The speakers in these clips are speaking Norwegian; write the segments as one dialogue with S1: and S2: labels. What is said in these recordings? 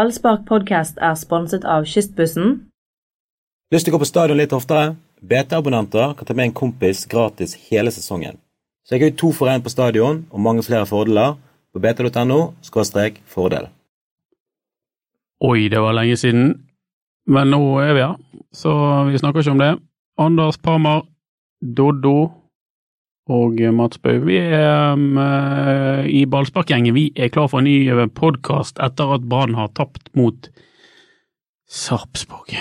S1: Ballspark podcast er sponset av Kystbussen.
S2: Lyst til å gå på stadion litt oftere? BT-abonnenter kan ta med en kompis gratis hele sesongen. Så jeg har jo to for én på stadion og mange flere fordeler på bt.no fordel.
S3: Oi, det var lenge siden. Men nå er vi her, så vi snakker ikke om det. Anders Parmar, Doddo og Mats Bø. Vi er um, eh, i ballsparkgjengen. Vi er klar for en ny podkast etter at Brann har tapt mot Sarpsborg.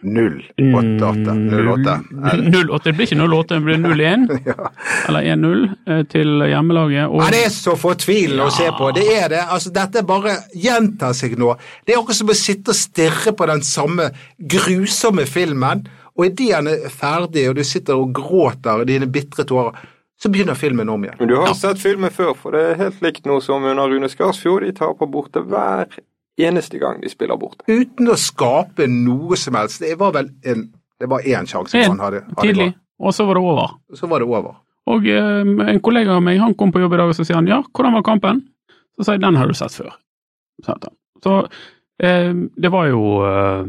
S4: 088.
S3: Mm.
S4: 08. Er det-
S3: 08. Det blir ikke 08, det blir 01.
S4: Ja.
S3: Eller 1-0 eh, til hjemmelaget. Og
S4: Ja, det er så fortvilende å se på. Det er det. Altså, dette bare gjentar seg nå. Det er akkurat som å sitte og stirre på den samme grusomme filmen, og idet den er ferdig, og du sitter og gråter dine bitre tårer, så begynner filmen om igjen.
S5: Men du har sett filmen før, for det er helt likt nå som under Rune Skarsfjord. De taper borte hver eneste gang de spiller borte.
S4: Uten å skape noe som helst. Det var vel en, det var én sjanse
S3: En,
S4: han hadde. hadde
S3: tidlig.
S4: gått.
S3: Og så var det over.
S4: Og Så var det over.
S3: Og eh, en kollega av meg, han kom på jobb i dag, og så sier han ja, hvordan var kampen? Så sier jeg den har du sett før. sa han. Så eh, det var jo eh,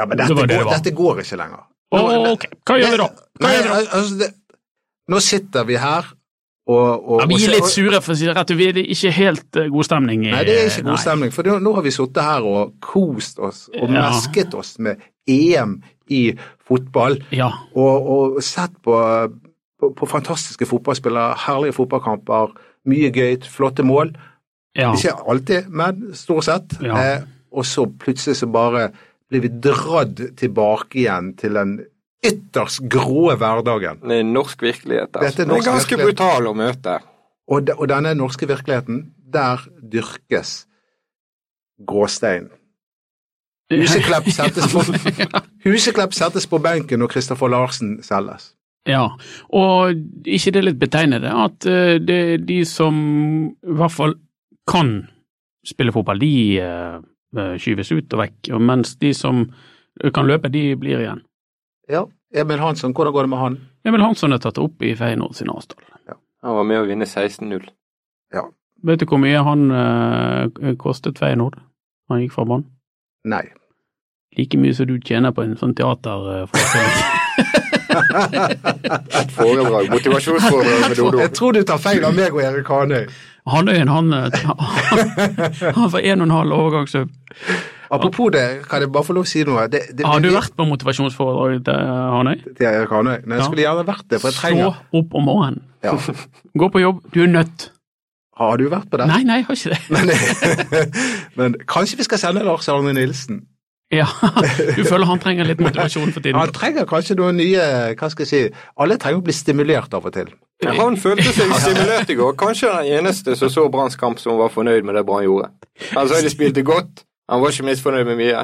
S4: Ja, men
S3: Det
S4: dette,
S3: var det det
S4: går,
S3: var.
S4: dette går ikke lenger.
S3: Å,
S4: Nå-
S3: ok, hva gjør vi da? Hva
S4: Nei,
S3: gjør vi da?
S4: altså, det, nå sitter vi her og, og
S3: Ja, vi
S4: og
S3: er
S4: se-
S3: litt
S4: og-
S3: sure, for å si det rett. Vi er det ikke helt eh, god stemning. i-
S4: Nei, det er ikke god
S3: nei.
S4: stemning. For nå- nå har vi sittet her og kost oss og
S3: Ja.
S4: mesket oss med EM i fotball
S3: Ja.
S4: og, og sett på, på, på fantastiske fotballspillere, herlige fotballkamper, mye gøy, flotte mål.
S3: ja.
S4: Ikke alltid, men stort sett.
S3: Ja.
S4: Eh, og så plutselig så bare blir vi dradd tilbake igjen til den ytterst grå hverdagen.
S5: Det er norsk virkelighet. Altså.
S4: Dette er norsk
S5: det er ganske
S4: virkelighet.
S5: brutal å møte.
S4: Og, de, og denne norske virkeligheten, der dyrkes gråstein. Huseklepp settes på, Huseklepp settes på benken når Kristoffer Larsen selges.
S3: Ja, og ikke det er litt betegnende at eh, det er de som i hvert fall kan spille fotball, de eh, eh, skyves ut og vekk, og mens de som kan løpe, de blir igjen.
S4: Ja. Emil Hansson, hvordan går det med han?
S3: Emil Hansson er tatt opp i Feyenoord sin avstand.
S5: Han var med å vinne 16-0.
S3: Vet du hvor mye han eh, kostet Feyenoord? Han gikk fra banen.
S4: Nei.
S3: Like mye som du tjener på en sånn teaterforestilling.
S5: Foredrag. Motivasjonsforedrag med Dodo.
S4: Jeg tror du tar feil av meg og Erik Hanøy.
S3: Hanøyen, han eh, Han var en og en halv overgangssum.
S4: Apropos det, kan jeg bare få lov å si noe? Det, det,
S3: Har du
S4: det-
S3: vært på motivasjonsforedraget til eh, Hanøy?
S4: til Erik Hanøy? Nei, jeg
S3: Ja.
S4: skulle gjerne vært det, for jeg
S3: Stå
S4: trenger
S3: opp om morgenen.
S4: ja.
S3: Gå på jobb, du er nødt.
S4: Har du vært på det?
S3: Nei, nei, jeg har ikke det.
S4: Men, men kanskje vi skal sende Lars Arne Nilsen?
S3: Ja, Du føler han trenger litt motivasjon for tiden?
S4: Han trenger kanskje noen nye Hva skal jeg si Alle trenger å bli stimulert av og til.
S5: Han følte seg stimulert i går. Kanskje den eneste som så Branns kamp som var fornøyd med det Brann gjorde. Han sa de spilte godt. Han var ikke misfornøyd med mye.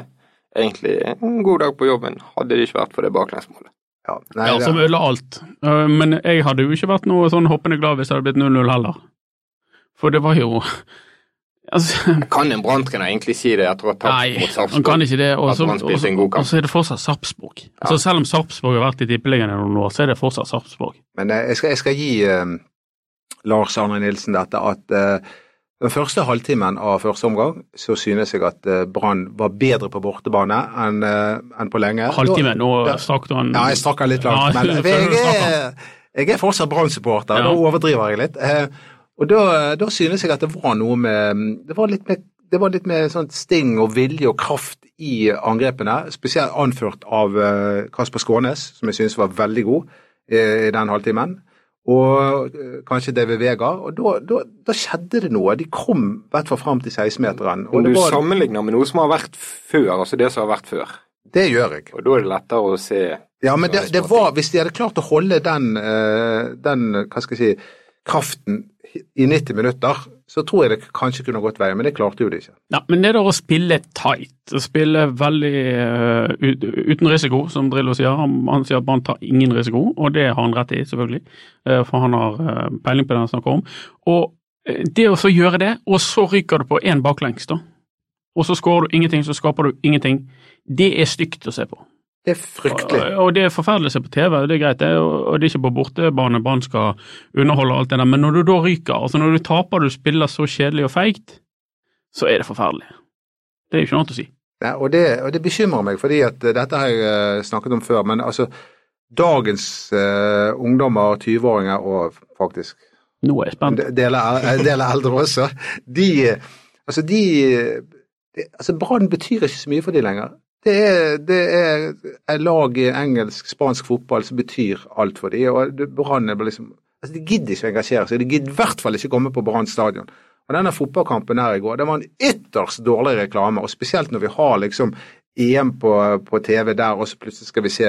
S5: Egentlig en god dag på jobben, hadde det ikke vært for det baklengsmålet.
S4: Ja, nei,
S3: Ja,
S4: det-
S3: Som ødela alt. Uh, Men jeg hadde jo ikke vært noe sånn hoppende glad hvis det hadde blitt 0-0 heller. For det var jo Altså,
S5: Kan en Brann-trener egentlig si det etter å ha tapt
S3: nei,
S5: mot
S3: han kan
S5: Sarpsborg?
S3: ikke det. Og
S5: At
S3: så
S5: man spilte en god
S3: og
S5: kamp.
S3: så er det fortsatt Sarpsborg. Altså, selv om Sarpsborg har vært i tippeligaen i noen år, så er det fortsatt Sarpsborg.
S4: Men eh, jeg skal, jeg skal gi eh, Lars Arne Nilsen dette at eh, den første halvtimen av første omgang så synes jeg at eh, Brann var bedre på bortebane enn eh, enn på lenge.
S3: Halvtime, nå
S4: Ja.
S3: snakket han
S4: Ja, jeg strakk den litt langt,
S3: Mm. Ja,
S4: men
S3: jeg føler du
S4: jeg
S3: strakk
S4: er, jeg er fortsatt Brann-supporter,
S3: Ja.
S4: da overdriver jeg litt. Eh, Og da, da synes jeg at det var noe med Det var litt mer, det var litt mer sånn sting og vilje og kraft i angrepene, spesielt anført av eh, Kasper Skånes, som jeg synes var veldig god eh, i den halvtimen. Og eh, kanskje David Vega. Og da, da, da skjedde det noe. De kom i hvert fall fram til 16-meteren. Og
S5: Om
S4: det,
S5: du
S4: var,
S5: sammenligner med noe som har vært før, altså det som har vært før,
S4: det gjør jeg.
S5: og da er det lettere å se
S4: Ja, men det, det var, hvis de hadde klart å holde den, eh, den hva skal jeg si, kraften i 90 minutter, så tror jeg det kanskje kunne gått veien, men det klarte jo de ikke.
S3: Ja, men det der å spille tight, å spille veldig eh, ut, uten risiko, som Drillo sier. Han, han sier at man tar ingen risiko, og det har han rett i, selvfølgelig. eh, for han har eh, peiling på det han snakker om. Og eh, det å så gjøre det, og så ryker du på én baklengs, da. Og så skårer du ingenting, så skaper du ingenting. Det er stygt å se på.
S4: Det er fryktelig.
S3: Og, og det er forferdelig å se på TV, det er greit, det, og, og det er ikke på bortebane Brann skal underholde og alt det der, men når du da ryker, altså når du taper du spiller så kjedelig og feigt, så er det forferdelig. Det er jo ikke noe annet å si.
S4: Nei, og, det, og det bekymrer meg, fordi at eh, dette har jeg eh, snakket om før. Men altså, dagens eh, ungdommer, 20-åringer og faktisk
S3: Nå er jeg
S4: en
S3: spent.
S4: del er- en del er eh, eldre også, de eh, Altså, de de- altså Brann betyr ikke så mye for de lenger. Det er, det er et lag i engelsk, spansk fotball som betyr alt for de, og det- Brann er bare liksom altså De gidder ikke å engasjere seg, de gidder i hvert fall ikke komme på Brann stadion. Og denne fotballkampen her i går, det var en ytterst dårlig reklame, og spesielt når vi har liksom EM på, på TV der, og så plutselig skal vi se,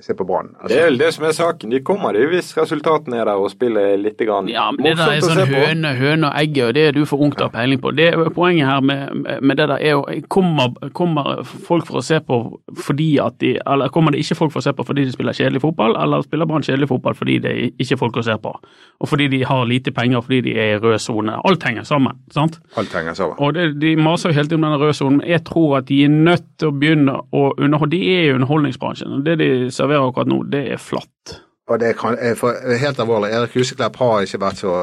S4: se på Brann. Altså,
S5: Det er vel det som er saken. De kommer de hvis resultatene er der og spiller litt grann
S3: Ja, men det der er
S5: morsomt å se
S3: sånn
S5: på.
S3: høne, høne og egget, og det er du for ung til å ha peiling på. Det, poenget her med, med det der er jo kommer, kommer folk for å se på fordi at de Eller kommer det ikke folk for å se på fordi de spiller kjedelig fotball, eller spiller Brann kjedelig fotball fordi det er ikke folk å se på? Og fordi de har lite penger, fordi de er i rød sone. Alt henger sammen, sant?
S4: Alt henger sammen.
S3: Og det, De maser jo hele tiden om denne røde sonen, men jeg tror at de er nødt til å begynne å underholde. De er i underholdningsbransjen, og det de serverer akkurat nå, det er flatt.
S4: Og det kan, eh, for, helt alvorlig, Erik Huseklepp har ikke vært så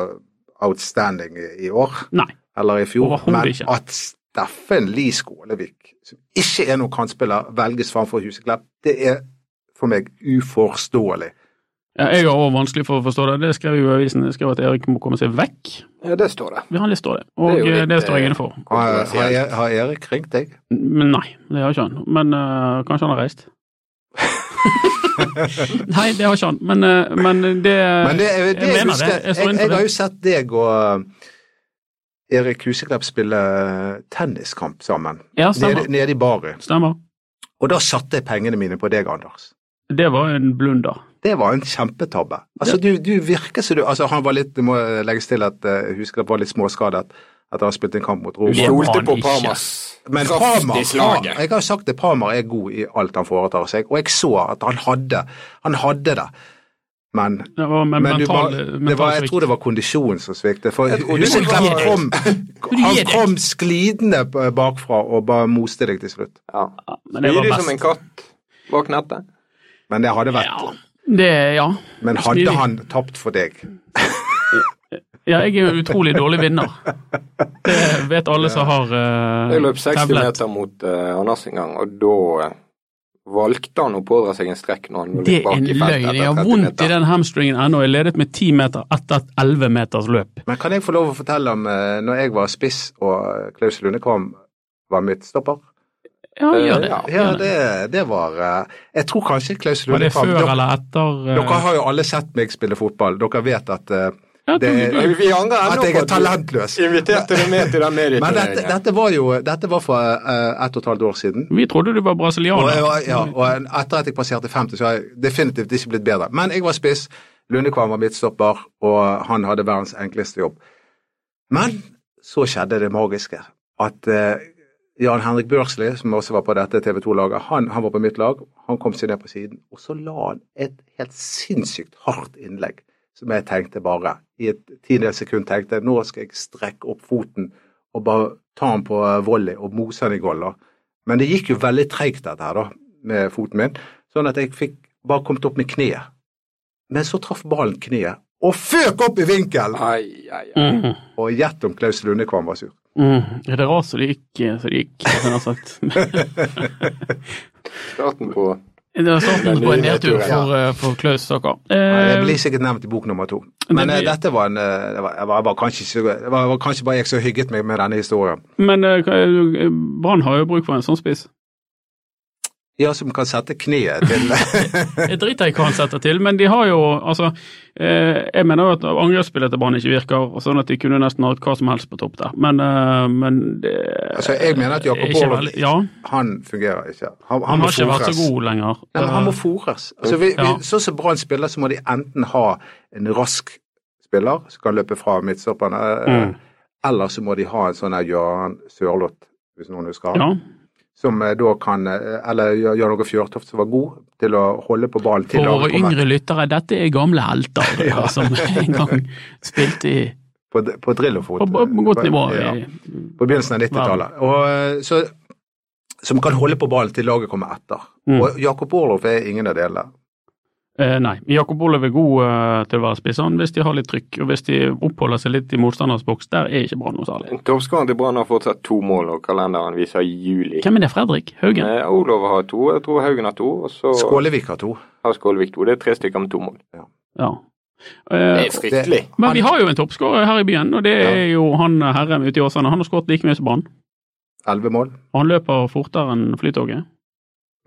S4: outstanding i i år,
S3: Nei.
S4: eller i fjor,
S3: Overhodet
S4: men
S3: ikke.
S4: at Steffen Lie Skålevik, som ikke er noen kantspiller, velges framfor Huseklepp, det er for meg uforståelig.
S3: Ja, jeg har også vanskelig for å forstå det. Det skrev jo i avisen. Jeg skrev at Erik må komme seg vekk.
S5: Ja, det står det.
S3: Ja, det står det. Og
S5: Det er jo
S3: eh,
S5: litt,
S3: det står
S5: eh,
S3: jeg inne for.
S4: Har, har,
S5: Kontroversielt.
S4: E- har Erik ringt deg?
S3: Men nei, det har ikke han. Men eh, kanskje han har reist. nei, det har ikke han. Men, eh, men det,
S4: Men det, eh, det,
S3: jeg
S4: jeg,
S3: mener
S4: husker,
S3: det. Jeg
S4: jeg,
S3: står
S4: jeg,
S3: inne for det.
S4: har jo sett deg og eh, Erik Huseklepp spille tenniskamp sammen,
S3: Ja,
S4: nede,
S3: stemmer.
S4: nede i baren.
S3: stemmer.
S4: Og da satte jeg pengene mine på deg, Anders.
S3: Det var en blunder.
S4: Det var en kjempetabbe. Altså, du, du virker som du altså, Han var litt, det må legges til at uh, Husklepp var litt småskadet etter han spilte en kamp mot
S5: Du
S4: Roma.
S3: Ja.
S5: stolte
S3: han
S5: på
S3: ikke.
S5: Parmas
S4: Men
S5: kraft
S4: Palmer,
S5: i slaget.
S4: jeg har jo sagt det, Palmer er god i alt han foretar seg, og jeg så at han hadde, han hadde det. Men,
S3: Det var med
S4: men du
S3: mental,
S4: var- det
S3: mental
S4: var, jeg
S3: svikt.
S4: tror det var kondisjonen som sviktet. For
S5: Jeg tror du
S4: Husklepp
S5: var-
S4: kom,
S3: du
S4: han
S3: gir deg.
S4: kom slidende bakfra og bare moste deg til slutt.
S5: Ja.
S3: Ja, men det
S5: Blir
S3: var
S5: du
S3: best.
S5: som en katt bak nettet?
S4: Men det hadde vært
S3: Ja, det, ja.
S4: Men
S3: Smidig.
S4: hadde han tapt for deg?
S3: ja, jeg er jo en utrolig dårlig vinner. Det vet alle som har eh,
S5: Jeg løp 60
S3: tevlet.
S5: meter mot eh, Anders en gang, og da eh, valgte han å pådra seg en strekk når han
S3: Det
S5: gikk
S3: er
S5: bak
S3: en
S5: i feltet
S3: løgn. Jeg
S5: etter
S3: har
S5: 30
S3: vondt i
S5: meter.
S3: den hamstringen ennå. Jeg ledet med ti meter etter et elleve meters løp.
S4: Men kan jeg få lov å fortelle om eh, når jeg var spiss og eh, Klaus Lundekvam var midtstopper?
S3: Ja,
S5: Eh,
S3: gjør det.
S5: ja.
S4: Ja,
S3: Gjør det.
S4: det, det var eh, Jeg tror kanskje Klaus
S3: Var det
S4: Lundekvam
S3: før
S4: dere,
S3: eller etter eh,
S4: dere har jo alle sett meg spille fotball. Dere vet at, eh,
S3: ja,
S4: det,
S3: du-
S5: Men Vi angrer
S4: at
S5: ennå
S4: jeg
S5: på
S4: er talentløs.
S5: inviterte deg med til den
S4: Men dette,
S5: medieturneringen.
S4: dette var jo dette var for eh, ett og et halvt år siden.
S3: Vi trodde du var
S4: Og,
S3: brasilianer.
S4: jeg var, ja, og en- etter at jeg passerte 50, så har jeg definitivt ikke blitt bedre. Men jeg var spiss, Lundekvam var midtstopper, og han hadde verdens enkleste jobb. Men så skjedde det magiske. At eh, Jan Henrik Børsli, som også var på dette TV 2-laget, han, han var på mitt lag. Han kom seg ned på siden, og så la han et helt sinnssykt hardt innlegg. Som jeg tenkte bare, i et tiendedels sekund tenkte nå skal jeg strekke opp foten og bare ta han på eh, volley og mose han i gold. da. Men det gikk jo veldig treigt dette her, da, med foten min. Sånn at jeg fikk bare kommet opp med kneet. Men så traff ballen kneet, og føk opp i vinkel!
S5: Ai, ai, ai.
S3: Mhm.
S4: Og gjett om Klaus Lundekvam var sur.
S3: Mhm. Er det rart så det gikk eh, så det gikk, som jeg har sagt.
S5: Starten på
S3: Det var starten på en nedtur
S5: Ja.
S3: for, eh, for Klaus, stakkar.
S4: Nei, Det
S3: Eh,
S4: blir sikkert nevnt i bok nummer to. Men
S3: det
S4: eh,
S3: blir-
S4: dette var en eh, Det var, jeg var, bare kanskje, ikke så- det var, var kanskje bare jeg som hygget meg med denne historien.
S3: Men eh, hva er du- eh, Brann har jo bruk for en sånn spiss.
S4: Ja, som kan sette kneet til
S3: Jeg driter i hva han setter til, men de har jo altså eh, Jeg mener jo at angrepsspillet til Brann ikke virker, og sånn at de kunne nesten hatt hva som helst på topp der, men, eh, men det
S4: Altså, jeg mener at Jakob
S3: er ikke
S4: Aaland-
S3: veldig- Ja,
S4: Han fungerer ikke. Han, han
S3: han
S4: må
S3: har ikke vært så
S4: fôres.
S3: god lenger. Eh,
S4: Nei, men han må fôres. Altså, vi, vi,
S3: Ja.
S4: sånn som Brann spiller, så må de enten ha en rask spiller som kan løpe fra midtstopperne, eh,
S3: Mm.
S4: eller så må de ha en sånn her Jøran Sørloth, hvis noen husker han.
S3: Ja.
S4: som eh, da kan eh, Eller gjør- gjør noe Fjørtoft som var god til å holde på ballen til
S3: For
S4: han
S3: våre
S4: kommer-
S3: yngre lyttere, dette er gamle helter
S4: Ja.
S3: som en gang spilte i,
S4: på, på
S3: på,
S4: drillofot.
S3: på godt nivå.
S4: Ja,
S3: i-
S4: på begynnelsen av 90-tallet. Og, eh, så- Som kan holde på ballen til laget kommer etter.
S3: Mm.
S4: Og Jakob Orlof er ingen av delene.
S3: Eh, nei, Jakob Olav er god eh, til å være spiss han, hvis de har litt trykk, og hvis de oppholder seg litt i motstanders boks. Der er ikke Brann noe særlig.
S5: Toppskåreren til Brann har fortsatt to mål, og kalenderen viser juli.
S3: Hvem er det, Fredrik Haugen?
S5: Eh, Olav har to, jeg tror Haugen har to, og så
S4: Skålevik har to.
S5: har Skålevik to. Det er tre stykker med to mål.
S3: Ja. Eh,
S5: Det er fryktelig.
S3: men
S4: han-
S3: vi har jo en toppskårer her i byen, og det er jo han eh, herren ute i Åsane. Han har skåret like mye som Brann,
S4: Elleve mål.
S3: og han løper fortere enn Flytoget.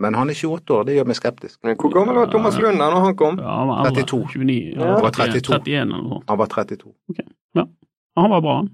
S4: Men han er 28 år, det gjør meg skeptisk.
S5: Men Hvor gammel var Thomas Lund da når han kom?
S3: Ja, han var eldre.
S4: 32.
S3: 29,
S5: Ja,
S3: eller
S4: han var
S3: 31,
S4: 32.
S3: 31 eller noe sånt.
S4: Han var 32.
S3: Han var bra, han.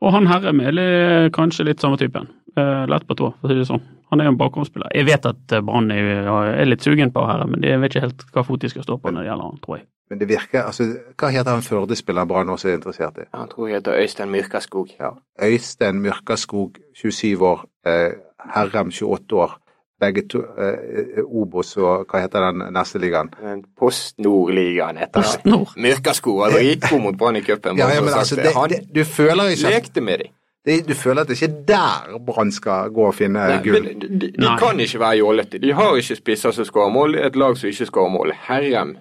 S3: Og han Herrem er li- kanskje litt samme typen. Eh, lett på tå, for å si det sånn. Han er jo en bakgrunnsspiller. Jeg vet at eh, Brann er, er litt sugen på Herrem, men jeg vet ikke helt hva fot de skal stå på når det gjelder han, tror jeg.
S4: Men det virker altså, Hva heter han Førde-spilleren Brann også er interessert i?
S5: Han tror jeg heter Øystein Myrkaskog.
S4: Ja. Øystein Myrkaskog, 27 år. Eh, Herrem, 28 år. Begge to eh, eh, Obos og hva heter den neste ligaen?
S5: Men Post Nordligaen heter han.
S3: Nord.
S5: Myrkaskog altså, gikk god mot Brann i cupen.
S4: Ja,
S5: bare
S4: ja,
S5: for
S4: men
S5: å ha
S4: altså,
S5: sagt
S4: det,
S5: Han
S4: det, du føler ikke at
S5: lekte med dem.
S4: det, du føler at det ikke er der Brann skal gå og finne
S5: Nei,
S4: gull.
S5: men de, de
S3: Nei.
S5: kan ikke være jålete. De har ikke spisser som skårer mål. Et lag som ikke skårer mål. Herrem.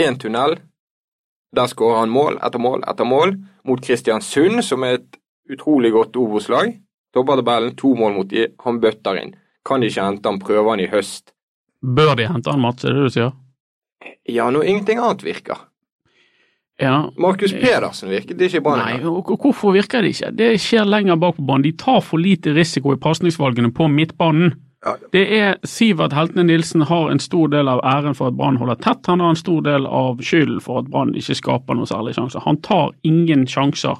S5: Én tunnel. Der skårer han mål etter mål etter mål. Mot Kristiansund, som er et utrolig godt Obos-lag. Topper tabellen, to mål mot de. Han bøtter inn. Kan de ikke hente han, prøver han i høst.
S3: Bør de hente han, Mats, er det det du sier?
S5: Ja, når ingenting annet virker.
S3: Ja.
S5: Markus
S3: Eh,
S5: Pedersen virket ikke i Brann.
S3: Nei,
S5: engang.
S3: og og hvorfor virker det ikke? Det skjer lenger bak på banen. De tar for lite risiko i pasningsvalgene på midtbanen.
S4: Ja.
S3: Det er Sivert Heltene Nilsen har en stor del av æren for at Brann holder tett. Han har en stor del av skylden for at Brann ikke skaper noen særlige sjanser. Han tar ingen sjanser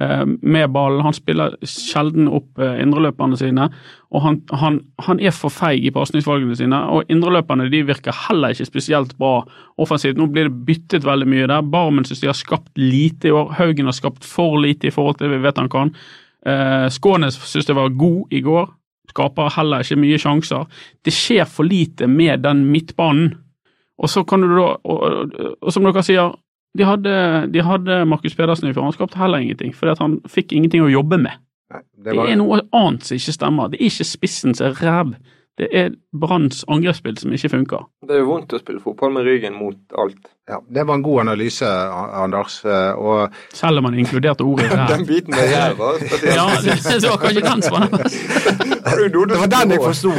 S3: eh, med ballen. Han spiller sjelden opp eh, indreløperne sine, og han, han, han er for feig i pasningsvalgene sine. Og indreløperne de virker heller ikke spesielt bra offensivt. Nå blir det byttet veldig mye der. Barmen synes de har skapt lite i år. Haugen har skapt for lite i forhold til det vi vet han kan. Eh, Skånes synes det var god i går. Skaper heller ikke mye sjanser. Det skjer for lite med den midtbanen. Og så kan du da, og, og, og som dere sier, de hadde, de hadde Markus Pedersen i fjor, han skapte heller ingenting, fordi at han fikk ingenting å jobbe med.
S4: Nei,
S3: Det er noe annet som ikke stemmer. Det er ikke spissen som er ræv. Det er Branns angrepsspill som ikke funker.
S5: Det er jo vondt å spille fotball med ryggen mot alt.
S4: Ja, det var en god analyse, A- Anders. eh, Og
S3: Selv om han inkluderte ordet ræv.
S5: Den biten med ræva spesielt.
S3: Ja, det, det var kanskje den som var den beste.
S4: det var den jeg forsto!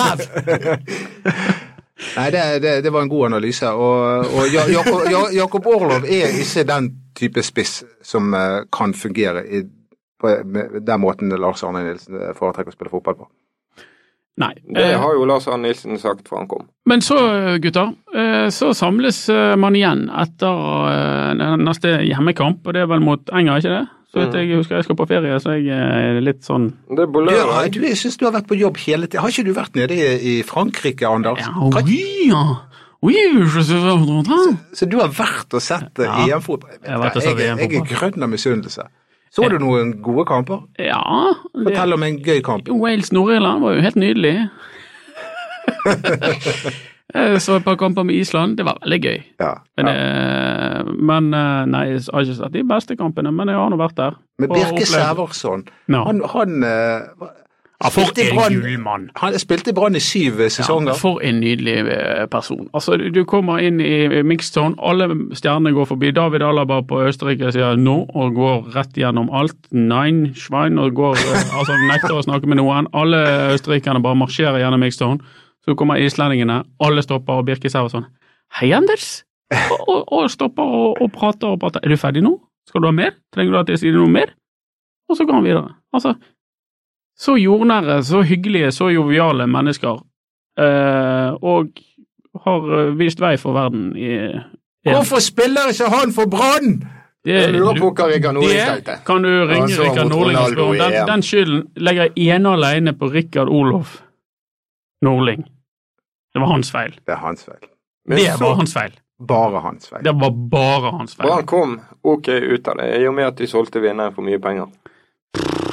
S3: Ræv!
S4: Nei, det, det, det var en god analyse. Og, og Ja- Jakob, Ja- Jakob Orlov er ikke den type spiss som eh, kan fungere i, på med den måten Lars Arne Nilsen eh, foretrekker å spille fotball på.
S3: Nei. eh,
S5: Det har jo Lars Arne Nilsen sagt fra han kom.
S3: Men så, gutter, eh, så samles eh, man igjen etter eh, neste hjemmekamp, og det er vel mot Enger, ikke det? Så
S5: Mm.
S3: vet jeg, jeg husker jeg skal på ferie, så jeg eh, er litt sånn
S5: Det er på
S4: Ja,
S5: lørdag.
S4: du, jeg syns du har vært på jobb hele tiden. Har ikke du vært nede i, i Frankrike, Anders?
S3: ja, oui, ja. Oui, je sais pas comment dire.
S4: Så du har vært og sett eh,
S3: Ja.
S4: EM-fotball?
S3: Jeg har vært og sett
S4: Jeg- Jeg er
S3: VM-fotball.
S4: grønn av misunnelse. Så du noen gode kamper?
S3: Ja, det,
S4: Fortell om en gøy kamp.
S3: Wales-Nord-Irland var jo helt nydelig. Jeg så et par kamper med Island, det var veldig gøy.
S4: Ja.
S3: Men,
S4: ja.
S3: eh, men eh, nei, jeg har ikke sett de beste kampene, men jeg har nå vært der.
S4: Men
S3: og
S4: Birke
S3: opplevd-
S4: Sæversson,
S3: Ja.
S4: han, han eh, var-
S3: Ja, for
S4: spilte i
S3: en
S4: Brann-
S3: gul mann.
S4: Han spilte i Brann i syv eh, sesonger.
S3: Ja, for en nydelig eh, person. Altså, du- du kommer inn i mixzone, alle stjernene går forbi. David Alaba på Østerrike sier no og går rett gjennom alt. Nein, Schwein, og går, eh, altså, nekter å snakke med noen. Alle østerrikerne bare marsjerer gjennom mixzone. Så kommer islendingene, alle stopper, og Birke sier sånn Hei, Anders! Og, og, og stopper og, og prater og prater. Er du ferdig nå? Skal du ha mer? Trenger du at jeg sier noe mer? Og så går han videre. Altså, så jordnære, så hyggelige, så joviale mennesker eh, og har eh, vist vei for verden i Ja.
S4: Hvorfor spiller ikke han for Brann?!
S3: det,
S5: Jeg lurer på hva Rikard Nordling
S3: det
S5: tenkte.
S3: kan du ringe
S5: Han så
S3: Rikard
S5: mot
S3: Nordling og
S5: Ronaldo
S3: spørre om.
S5: i
S3: Den,
S5: EM.
S3: den skylden legger jeg ene og alene på Rikard Olof Nordling. Det var hans feil.
S4: Det er hans feil.
S5: Men
S3: det
S5: så-
S3: var hans feil.
S4: Bare hans feil.
S3: Det var bare hans feil.
S5: Brann kom ok ut av det, i og med at de solgte vinneren for mye penger.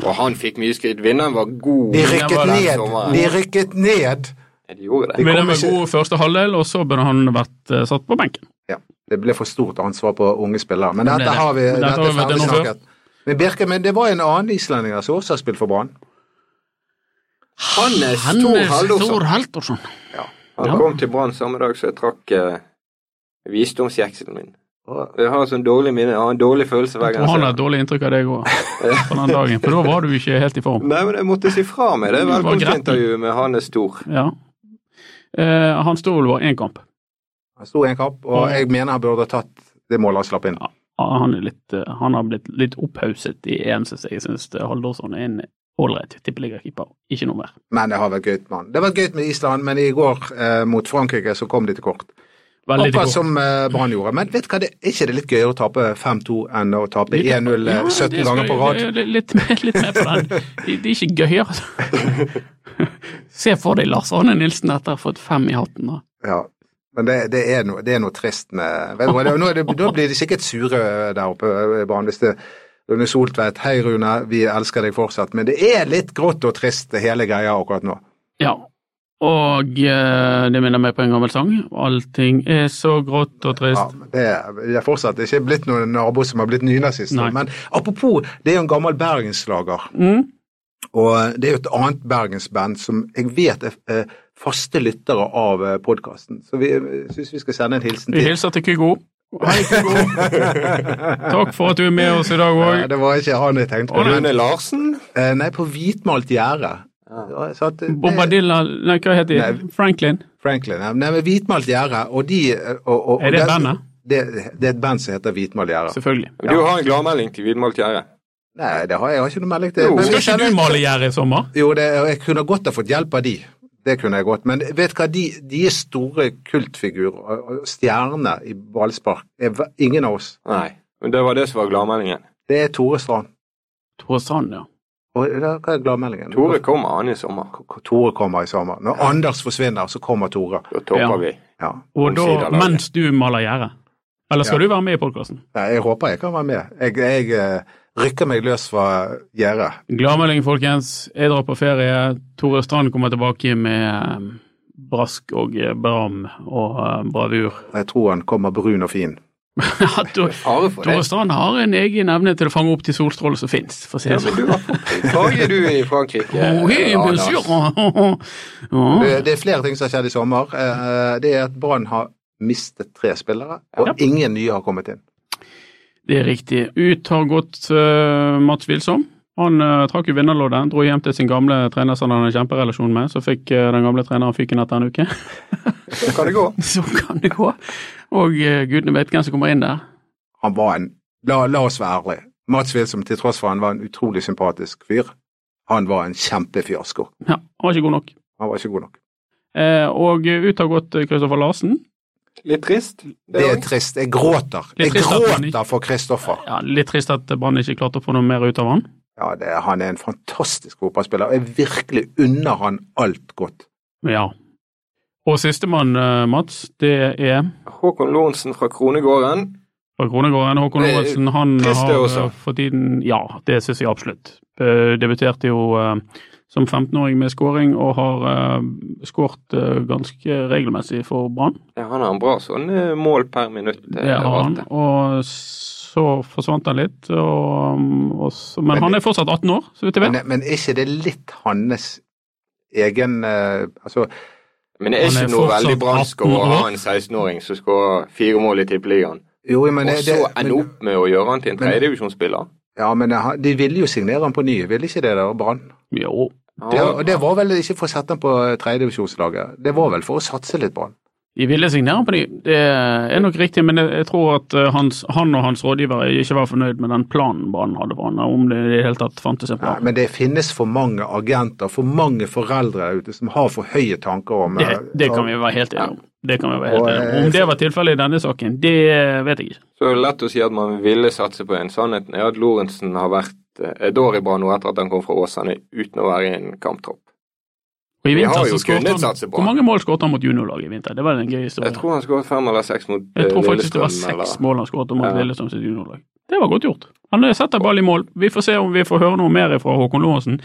S5: Og han fikk mye skryt. Vinneren var god.
S4: De
S3: Det
S4: rykket
S3: var den
S4: ned!
S5: sommeren.
S4: De rykket ned!
S5: De gjorde det.
S4: kom
S3: Men det var
S4: ikke-
S3: god første halvdel, og så burde han vært eh, satt på benken.
S4: Ja, det ble for stort ansvar på unge spillere. Men
S3: Det ble
S4: dette
S3: det.
S4: har vi
S3: Men dette
S4: dette
S3: har vi vært
S4: ferdig
S3: innom før.
S4: snakket. Men Birke, men det var en annen islending som også har spilt for Brann.
S5: Hannes Thor
S3: Hannes Thor
S5: Haldorsen.
S3: Haldorsson.
S4: Ja.
S5: Han
S3: Ja.
S5: kom til Brann samme dag som jeg trakk eh, visdomsjekselen min. Og jeg har sånn dårlig minne, jeg har en dårlig følelse hver
S3: Jeg
S5: gang
S3: tror
S5: jeg
S3: han
S5: ser
S3: har et dårlig inntrykk av deg òg, på den dagen. For da var du ikke helt i form.
S5: Nei, men jeg måtte si fra meg det
S3: Du var
S5: velkomstintervjuet med Hannes Stor.
S3: Ja. Eh, han sto vel bare én kamp.
S4: Han sto i en kamp,
S3: Mm.
S4: og jeg mener han burde ha tatt det målet han slapp inn.
S3: Ah, Han, er litt, eh, han har blitt litt opphauset i EM, syns jeg. Jeg syns Haldorsson er en ålreit tippeligakeeper. Ikke noe mer.
S4: Men det har vært gøy med han. Det har vært gøy med Island, men i går eh, mot Frankrike så kom de til kort.
S3: Veldig
S4: Akkurat
S3: til kort.
S4: som eh, Brann gjorde. Men vet du hva, det, er ikke det litt gøyere å tape 5-2 enn å tape 1-0
S3: Ja, det
S4: 17
S3: skal
S4: ganger
S3: jeg-
S4: eh, på rad?
S3: det- det- Litt, med- litt med på den. Det det er ikke gøy, altså. Se for deg Lars Arne Nilsen etter å ha fått fem i hatten. da.
S4: Ja. Men det, det, er noe, det er noe trist med vet du hva, det, nå er det, Da blir de sikkert sure eh, der oppe i Brann. Hvis det Rune Soltvedt, hei Rune, vi elsker deg fortsatt. Men det er litt grått og trist hele greia akkurat nå.
S3: Ja. Og eh, det minner meg på en gammel sang. Allting er så grått og trist.
S4: Ja, men det er, det er fortsatt ikke blitt noen nabo som har blitt nynazister.
S3: Nei.
S4: Men apropos, det er jo en gammel bergenslager.
S3: Mm.
S4: Og eh, det er jo et annet bergensband som jeg vet er eh, faste lyttere av podkasten. Så vi eh, syns vi skal sende en hilsen
S3: Vi
S4: til.
S3: hilser til Kygo. Hei, Kygo. Takk for at du er med oss i dag
S4: Ja,
S3: òg.
S4: Eh, det var ikke han jeg tenkte på.
S5: Rune Larsen?
S4: Eh, Nei, på hvitmalt gjerde. Ja, så at, eh, det-
S3: Bombadilla Nei, hva heter de?
S4: Nei.
S3: Franklin?
S4: Franklin. ja. Nei, men hvitmalt gjerde, og de eh, og, og,
S3: Er det
S4: og
S3: bandet?
S4: Det, det er et band som heter Hvitmalt gjerde.
S3: Selvfølgelig.
S5: Du har en gladmelding til Vidmalt Gjerde.
S4: Nei, det har jeg, jeg har ikke noe melding til.
S5: Jo.
S4: Men vi
S3: Skal ikke
S4: sender-
S3: du male gjerdet i sommer?
S4: Jo, det, og jeg kunne godt ha fått hjelp av de. Det kunne jeg godt. Men vet du hva, de, de er store kultfigurer og- og stjerner i ballspark. Jeg v- Ingen av oss.
S5: Nei. Men det var det som var gladmeldingen.
S4: Det er Tore Strand.
S3: Tore Sand, ja.
S4: Og da- hva er gladmeldingen?
S5: Tore kommer han i sommer.
S4: Tore kommer i sommer. Når Anders forsvinner, så kommer Tore.
S5: Da topper
S3: Ja.
S5: vi.
S4: Ja.
S3: Og da,
S5: Omsiderlaget.
S3: mens du maler gjerdet. Eller skal du være med i podkasten?
S4: Nei, Jeg håper jeg kan være med. Jeg, jeg eh, rykker meg løs fra gjerdet.
S3: Gladmelding, folkens. Jeg drar på ferie. Tore Strand kommer tilbake med eh, brask og eh, bram og eh, bravur.
S4: Jeg tror han kommer brun og fin.
S3: Ja, Tor-
S5: Fare for det.
S3: Tore Strand har en egen evne til å fange opp de solstrålene som fins, for å si
S5: Ja,
S3: det
S5: men
S3: sånn.
S5: du var farlig du i Frankrike.
S3: Oh, hey,
S5: Ja, Lars.
S3: monsieur. Ja.
S4: Eh, Det det er flere ting som har skjedd i sommer. Eh, Det er at Brann har mistet tre spillere, og
S3: Ja.
S4: ingen nye har kommet inn.
S3: Det er riktig. Ut har gått eh, Mats Wilsom. Han eh, trakk jo vinnerloddet, dro hjem til sin gamle trener som han hadde en kjemperelasjon med. Så fikk eh, den gamle treneren fyken etter en uke.
S5: Så kan det gå.
S3: så kan det gå. Og eh, gudene vet hvem som kommer inn der.
S4: Han var en La, la oss være ærlige. Mats Wilsom, til tross for han var en utrolig sympatisk fyr, han var en kjempefiasko.
S3: Ja, han var ikke god nok.
S4: Han var ikke god nok.
S3: Eh, og eh, ut har gått eh, Kristoffer Larsen.
S5: Litt trist.
S4: Det er
S5: også.
S4: trist. Jeg gråter.
S3: Litt
S4: Jeg
S3: trist at han ikke-
S4: gråter for Kristoffer.
S3: Ja, Litt trist at Brann ikke klarte å få noe mer ut av han.
S4: Ja, det, er- han er en fantastisk fotballspiller, og jeg virkelig unner han alt godt.
S3: Men ja. Og sistemann, eh, Mats, det er
S5: Håkon Lorentzen fra Kronegården.
S3: fra Kronegården. Håkon
S5: Det er
S3: Lorentzen, han
S5: trist det
S3: har
S5: også.
S3: eh, for tiden Ja, det syns jeg absolutt. Eh, Debuterte jo eh, som 15-åring med skåring, og har eh, skåret eh, ganske regelmessig for Brann.
S5: Ja, han har en bra sånn eh, mål per minutt. eh,
S3: Det har han.
S5: rate.
S3: Og så forsvant han litt, og, mm, og så, men,
S4: Men-
S3: han er fortsatt 18 år, så vidt jeg
S4: Men,
S3: vet.
S4: men er ikke det litt hans egen eh, Altså,
S5: Men det er
S3: Han er
S5: ikke noe
S3: fortsatt
S5: veldig bransk å
S3: 18 år.
S5: ha en 16-åring som skårer fire mål i Tippeligaen,
S4: jo, men
S5: og
S4: det,
S5: så ende
S4: men,
S5: opp med å gjøre han til en
S4: Men-
S5: tredjedivisjonsspiller.
S4: Ja, men han- de ville jo signere han på ny, ville ikke det der, Brann?
S3: Jo,
S4: Det, og det var vel ikke for å sette han på tredjedivisjonslaget, det var vel for å satse litt, Brann?
S3: de ville signere på de. Det er nok riktig, men jeg, jeg tror at eh, hans, han og hans rådgiver ikke var fornøyd med den planen Brann hadde for han, om det i det hele tatt fantes en
S4: Nei,
S3: plan.
S4: men det finnes for mange agenter, for mange foreldre der ute som har for høye tanker om
S3: det,
S4: eh,
S3: det kan
S4: om-
S3: vi være helt enige om. Det kan vi være helt
S4: Og,
S3: enige
S4: eh,
S3: om. Om det var tilfellet i denne saken, det vet jeg ikke.
S5: Så er det lett å si at man ville satse på en. Sannheten er at Lorentzen har vært eh, et år i Brann nå etter at han kom fra Åsane uten å være i en kamptropp.
S3: Og i
S5: Vi
S3: vinter
S5: har
S3: så
S5: jo
S3: skåret
S5: kunnet
S3: han
S5: satse på
S3: Hvor
S5: han.
S3: mange mål skåret han mot juniorlaget i vinter? Det var den gøye historien.
S5: Jeg tror han skåret fem eller seks mot eh,
S3: Jeg tror faktisk det var
S5: Lillestrøm,
S3: seks
S5: eller-
S3: mål han skåret mot
S5: Ja.
S3: Lillestrøm sitt juniorlag. Det var godt gjort. Han eh, setter ball i mål. Vi får se om vi får høre noe mer fra Håkon Lorentzen.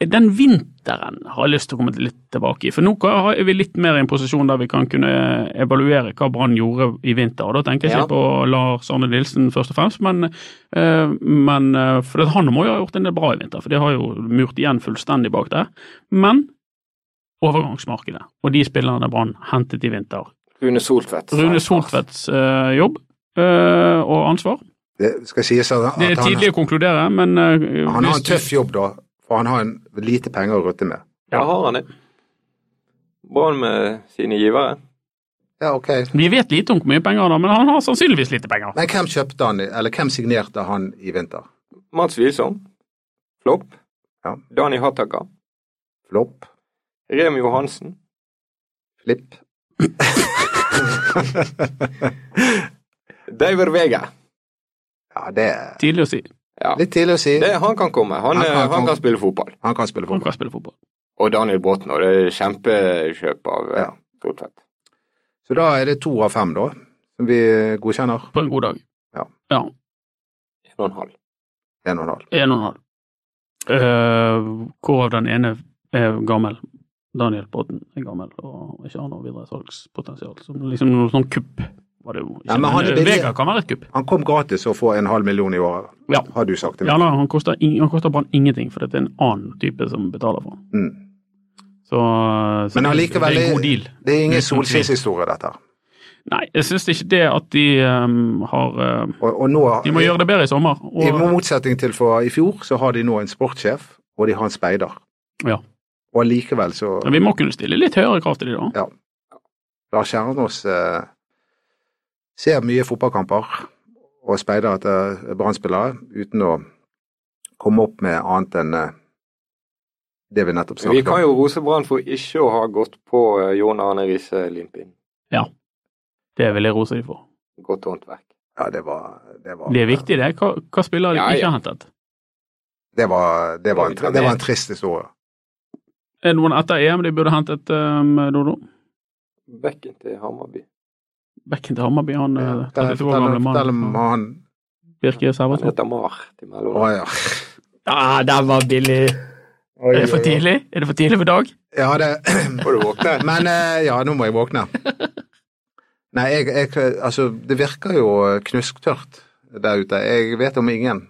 S3: Eh, Den vinteren har jeg lyst til å komme litt tilbake i, for nå kan- er vi litt mer i en posisjon der vi kan kunne eh, evaluere hva Brann gjorde i vinter. og Da tenker jeg ikke
S5: Ja.
S3: på Lars Arne Nilsen først og fremst, men, eh, men eh, for det- han må jo ha gjort en del bra i vinter, for de har jo murt igjen fullstendig bak der. Men overgangsmarkedet og de spillerne Brann hentet i vinter.
S5: Rune Soltvedt.
S3: Rune Soltvedts eh, jobb eh, og ansvar.
S4: Det skal sies at,
S3: Det
S4: at
S3: er
S4: han,
S3: tidlig å konkludere, men eh,
S4: han har
S3: hvis
S4: en
S3: du-
S4: tøff jobb, da. For han har en lite penger å rutte med.
S5: Ja, har han det? Brann med sine givere.
S4: Ja, ok.
S3: Vi vet lite om hvor mye penger han har, men han har sannsynligvis lite penger.
S4: Men hvem kjøpte han, eller hvem signerte han i vinter?
S5: Mats Wilson. Flopp.
S4: Ja.
S5: Dani Hattaka.
S4: Flopp?
S5: Remi Johansen.
S4: Flipp?
S5: Daver Vega.
S4: Ja, det er
S3: Tidlig å si.
S5: Ja.
S4: litt tidlig å si.
S5: Det, han kan komme. Han,
S4: Han
S5: eh,
S4: kan
S5: han,
S4: komme.
S5: kan spille fotball.
S4: Han kan spille
S3: Han
S4: fotball.
S3: kan spille fotball.
S5: Og Daniel Bråten. Og det er kjempekjøp av eh,
S4: Ja.
S5: Soltvedt.
S4: Så da er det to av fem, da, som vi godkjenner.
S3: På en god dag.
S4: Ja.
S3: ja
S5: En og en halv.
S4: En og en halv.
S3: en og en halv. Eh, hvorav den ene er gammel. Daniel Bråten er gammel og ikke har noe videre salgspotensial. Som liksom noe sånn kupp var det jo. ikke.
S4: Ja, men han er
S3: eh,
S4: billig.
S3: Vega kan være et kupp.
S4: Han kom gratis og får en halv million i året,
S3: Ja.
S4: har du sagt til
S3: ja
S4: meg.
S3: nei, han koster, ing- han koster bare ingenting, for dette er en annen type som betaler for han.
S4: Mm.
S3: Så, eh, så
S4: Men
S3: det-
S4: allikevel
S3: det er en
S4: er-
S3: god deal.
S4: Det er ingen
S3: Uten tvil.
S4: solskinnshistorie, dette. her.
S3: Nei, jeg syns ikke det at de eh, har eh,
S4: Og, og nå,
S3: De må gjøre det bedre i sommer.
S4: I
S3: Og,
S4: motsetning til for i fjor, så har de nå en sportssjef, og de har en speider.
S3: Ja.
S4: Og allikevel så
S3: men vi må kunne stille litt høyere krav til de da.
S4: Lars Kjernås eh, ser mye fotballkamper og speider etter Brann-spillere uten å komme opp med annet enn eh, det vi nettopp
S5: Vi
S4: snakket
S5: kan
S4: om.
S5: jo rose Brann for ikke å ha gått på eh, Jon Arne Riise Limpin.
S3: Det vil jeg rose de for.
S5: Godt håndverk.
S4: Ja, det var det var,
S3: Det er viktig, det. Hva, hva spiller de
S5: Ja, ja.
S3: ikke har hentet?
S4: Det var, det var, en, tr- det var en trist historie.
S3: Er det noen etter EM de burde hentet, um, Dodo?
S5: Bekken til Hammarby.
S3: Bekken til Hammarby, han
S4: Ja,
S3: eh,
S4: der-
S3: 32 år gamle
S4: der- der
S3: mannen
S4: må
S3: fra
S4: han
S3: Birke
S5: Han
S3: Servatov.
S5: heter Mar til
S4: Å
S5: mellom.
S4: ja.
S3: Ah, den var billig! Er det for tidlig? Er det for tidlig for Dag?
S4: ja det,
S5: Får du våkne?
S4: Men eh, ja, nå må jeg våkne. Nei, jeg, jeg Altså, det virker jo knusktørt der ute. Jeg vet om ingen.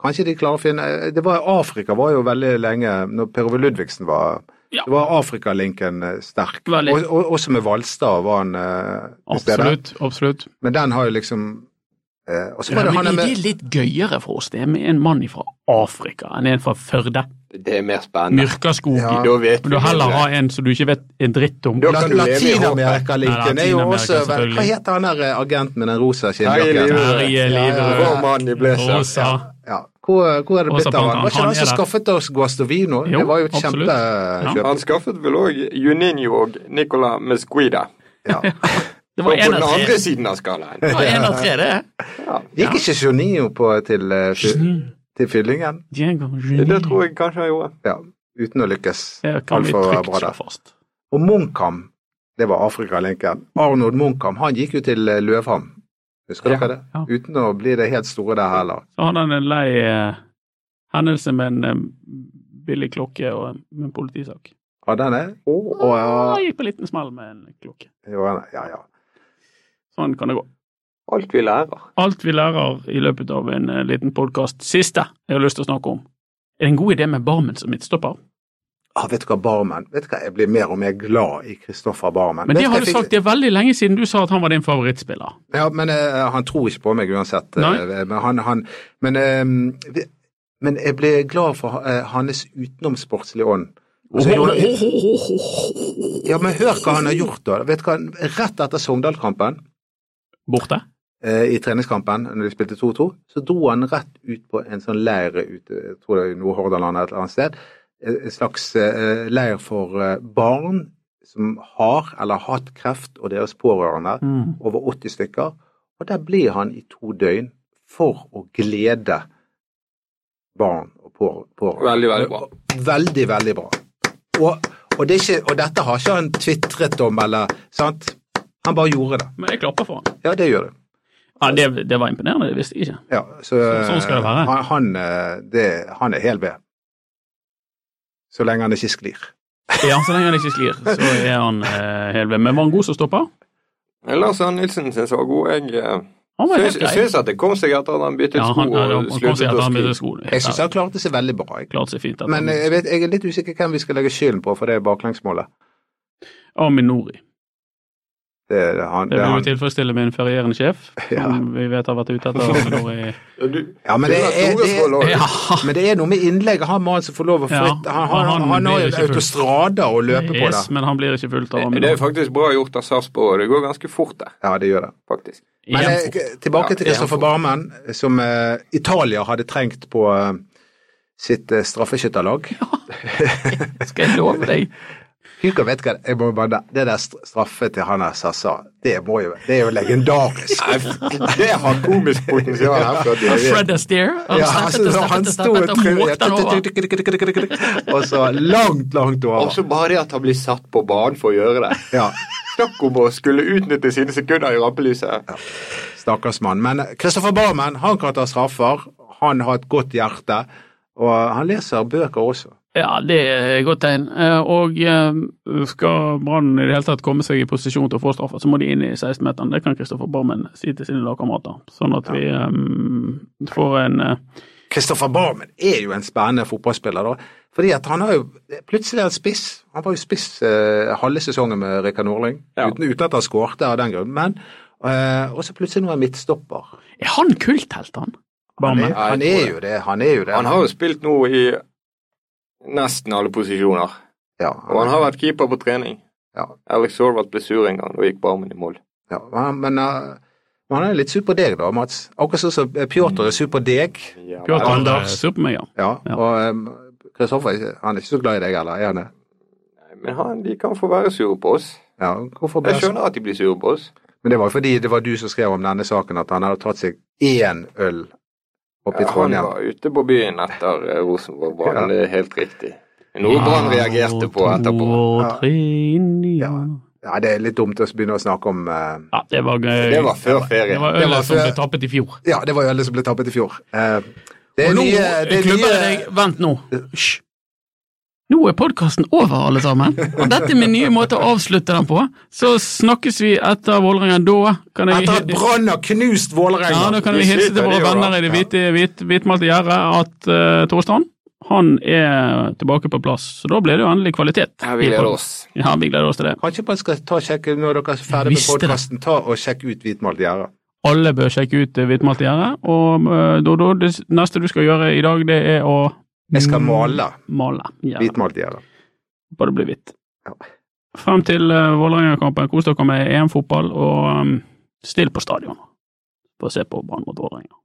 S4: Kanskje de klarer å finne eh, Det var Afrika var jo veldig lenge, når Per Ove Ludvigsen var
S3: Ja.
S4: Det var Afrikalinken eh, sterk.
S3: Veldig.
S4: Og, og, også med Hvalstad var han eh, til stede.
S3: Absolutt. absolutt.
S4: Men den har jo liksom eh, Og så
S3: Ja,
S4: var det
S3: men
S4: han
S3: er
S4: der
S3: det
S4: med
S3: litt gøyere for oss, det, med en mann fra Afrika enn en fra Førde?
S5: Det er mer spennende.
S3: Myrkaskog.
S4: Ja.
S5: Da vet
S3: Men du heller ha en som du ikke vet en dritt om.
S5: Da
S4: La-
S5: kan du leve i
S3: håpet.
S4: Latin-Amerika-linken er jo
S3: Nei,
S4: også
S3: Latinamerika,
S4: Hva heter han der eh, agenten med den rosa
S5: Terje
S4: skinnjakken?
S5: Liverød.
S3: Terje Liverød.
S5: Vår mann i blazer.
S3: Rosa.
S4: Ja. Hvor, hvor er det
S3: Også
S4: blitt
S3: blant
S4: av han?
S3: annet,
S4: Var ikke
S3: han
S4: han som
S3: er der.
S4: skaffet oss Guastavino?
S3: Jo,
S4: det var jo et
S3: absolutt.
S4: kjempekjøp.
S5: Han skaffet vel òg Juninho og Nicola Mesquida.
S4: Ja.
S3: Det var
S5: Og på
S3: en
S5: den
S3: av
S5: andre
S3: tre.
S5: siden av skalaen.
S3: Det var en av tre, det.
S4: Gikk ikke Jonio på til, eh, fy-
S3: Mm.
S4: til fyllingen?
S3: Diego
S5: Det tror jeg kanskje han gjorde.
S4: Ja, uten å lykkes
S3: Det kan vi
S4: altfor
S3: trygt
S4: bra
S3: slå
S4: der.
S3: fast.
S4: Og Munkham, det var Afrikalinken. Arnold Munkham, han gikk jo til eh, Løvhamn. Husker
S5: Ja,
S4: dere det?
S3: ja.
S4: Uten å bli det helt store der heller.
S3: Så hadde han en lei eh, hendelse med en eh, billig klokke og en, med en politisak.
S4: Hadde han det? Å, å,
S3: Ah,
S4: ja.
S3: gikk på en liten smell med en klokke.
S4: Jo, han- ja, ja.
S3: Sånn kan det gå.
S5: Alt vi lærer.
S3: Alt vi lærer i løpet av en eh, liten podkast. Siste jeg har lyst til å snakke om. Er det en god idé med Barmen som midtstopper?
S4: Ah, vet du hva, Barmen. Vet du hva, jeg blir mer og mer glad i Kristoffer Barmen.
S3: Men
S4: Vet
S3: det
S4: hva
S3: har
S4: jeg
S3: du
S4: fikk-
S3: sagt, det er veldig lenge siden du sa at han var din favorittspiller.
S4: Ja, men eh, han tror ikke på meg uansett. eh,
S3: Nei.
S4: men han, han, men, eh, vi- men jeg ble glad for eh, hans utenomsportslige ånd. Og så gjorde- ja, men hør hva han har gjort da. Vet du hva, rett etter Sogndal-kampen,
S3: Borte?
S4: eh, i treningskampen, når de spilte 2-2, så dro han rett ut på en sånn leir ute, jeg tror det er i Nord-Hordaland eller et eller annet sted, Eh, en slags eh, leir for eh, barn som har eller har hatt kreft og deres pårørende
S3: Mm.
S4: over 80 stykker. Og der blir han i to døgn for å glede barn og på- pårørende.
S5: Veldig, veldig bra.
S4: Veldig, veldig bra. Og, og, det er ikke, og dette har ikke han tvitret om, eller sant? Han bare gjorde det.
S3: Men jeg klapper for han.
S4: Ja, det gjør det.
S3: Ja, det, det var imponerende, det visste jeg ikke.
S4: Ja, så,
S3: Så- sånn skal det være.
S4: Han, han, eh, det, han er hel ved. Så lenge han ikke sklir.
S3: Ja, så lenge han ikke sklir, så er han eh, hel ved. Men var han god som stopper?
S5: Lars Arne Nilsen syns jeg var god. Jeg eh,
S3: Han var
S5: Syns,
S3: helt grei.
S5: syns at det kom seg etter at han byttet
S3: Ja,
S5: sko
S3: han, ja, han
S5: og
S3: kom seg
S5: sluttet
S3: at
S5: å
S3: han byttet
S5: skrive.
S3: sko.
S4: Jeg syns
S3: Ja,
S4: han klarte seg veldig bra. Jeg.
S3: klarte seg fint. etter
S4: Men
S3: han-
S4: eh, jeg, vet, jeg er litt usikker hvem vi skal legge skylden på for det baklengsmålet.
S3: Og Minori.
S4: Det, er han,
S3: Det
S4: det
S3: vil jo
S4: er han.
S3: tilfredsstille min ferierende sjef,
S4: Ja.
S3: som vi vet har vært ute etter Minori.
S5: Ja, du-
S4: Ja, men
S5: du
S4: det
S5: har
S4: er,
S5: store
S4: det er,
S5: skåler.
S3: Ja,
S4: Men det er noe med innlegget. Han mannen som får lov å
S3: Ja,
S4: flytte Han, han,
S3: han
S4: han, har
S3: blir
S4: jo
S3: ikke full.
S4: autostrader å løpe på
S3: yes,
S4: der.
S3: men han blir ikke fulgt av
S5: Det er
S3: Minori.
S5: faktisk bra gjort av Sarpsborg, og det går ganske fort der,
S4: Ja, det gjør det.
S5: faktisk.
S4: Men
S3: Igjen
S4: eh,
S3: fort.
S4: tilbake
S5: Ja,
S4: til Kristoffer
S5: igjen
S4: Barmen, som eh, Italia hadde trengt på eh, sitt eh, straffeskytterlag.
S3: Skal jeg love deg?
S4: Hugo vet hva det- jeg må bare, Det der stra- straffet til han der Sassa, det, må jo, det er jo legendarisk.
S5: Nei, det har komisk potensial. her, for at jeg vet.
S6: Fred Astaire. Han
S4: Ja,
S6: steppet og
S4: altså,
S6: steppet
S4: han
S6: og
S4: sto og
S6: steppet og måkte den over.
S4: trillet Og så langt, langt
S5: Og
S4: over.
S5: så bare det at han blir satt på banen for å gjøre det.
S4: Ja,
S5: Snakk om å skulle utnytte sine sekunder i rampelyset.
S4: Stakkars mann. Men Kristoffer Barmen, han kan ta straffer. Han har et godt hjerte. Og han leser bøker også.
S3: Ja, det er et godt tegn. Eh, Og eh, skal Brann i det hele tatt komme seg i posisjon til å få straffa, så må de inn i 16-meteren. Det kan Kristoffer Barmen si til sine lagkamerater. Sånn at vi eh, får en eh,
S4: Kristoffer Barmen er jo en spennende fotballspiller, da. Fordi at han har jo plutselig er han spiss. Han var jo spiss eh, halve sesongen med Rikard Norling,
S5: Ja.
S4: uten, uten at han skårte av den grunn. Men eh, også plutselig nå er han midtstopper.
S3: Er han kulthelt, han?
S4: Han
S3: Barmen?
S4: er, han er jo det. Han er jo det.
S5: Han har jo spilt nå i nesten alle posisjoner,
S4: ja,
S5: og han har vært keeper på trening.
S4: Ja.
S5: Alex Horvath ble sur en gang og gikk barmen i mål.
S4: ja, han- men eh, men han er litt sur på deg da, Mats. Akkurat sånn som Pjotr er sur på deg.
S5: Ja,
S3: Pjotr
S5: men-
S3: Anders.
S4: Anders.
S3: Sur på meg, ja.
S4: Ja,
S3: Ja.
S4: og eh, Kristoffer er ikke- han er ikke så glad i deg heller, er han det?
S5: Men han, de kan få være sure på oss.
S4: Ja, hvorfor ble
S5: Jeg
S4: han så-
S5: skjønner at de blir sure på oss.
S4: Men det var jo fordi det var du som skrev om denne saken, at han hadde tatt seg én øl oppe i
S5: Han
S4: Trondheim.
S5: var ute på byen etter eh, Rosenborg-brannen,
S4: Ja.
S5: det er helt riktig. Noe Brann reagerte på etterpå.
S3: To og tre inn i
S4: Ja. Ja, det er litt dumt å begynne å snakke om eh,
S3: Ja, det var gøy.
S5: Det var før
S3: Det
S5: ferien.
S3: var
S4: Det var
S3: ølet som
S4: før-
S3: ble tappet i fjor.
S4: Ja, det var jo alle som ble tappet i fjor. Eh, det er
S6: Og nå
S4: nye det er
S6: klubber jeg deg
S4: nye,
S6: Vent nå. Hysj. Nå er podkasten over, alle sammen. Og dette er min nye måte å avslutte den på. Så snakkes vi etter Vålerenga. Da kan jeg
S4: Etter at Brann har knust
S3: Ja, da
S4: Vålerenga!
S3: kan vi
S5: Vi
S3: hilse til
S5: sliter,
S3: våre
S5: det gjør
S3: venner i det
S4: det.
S3: hvite, hvit, hvitmalte gjerdet at uh, Torstrand han er tilbake på plass. Så da blir det jo endelig kvalitet.
S5: Ja, vi
S3: i
S5: gleder
S3: podden.
S5: oss.
S3: Ja, vi gleder oss til det.
S4: Kanskje man skal ta og sjekke når dere er ferdig med
S6: Visste det.
S4: podkasten, ta og sjekke ut Hvitmalt gjerde.
S3: Alle bør sjekke ut det hvitmalte gjerdet. Og uh, Dodo, det s- neste du skal gjøre i dag, det er å
S4: Jeg
S3: Mm.
S4: skal male
S3: male gjerdet.
S4: Hvitmalt gjerde.
S3: Bare det blir hvitt.
S4: Ja.
S3: Frem til uh, eh, Vålerenga-kampen. Kos dere med EM-fotball, og um, still på stadion for å se på Brann mot Vålerenga.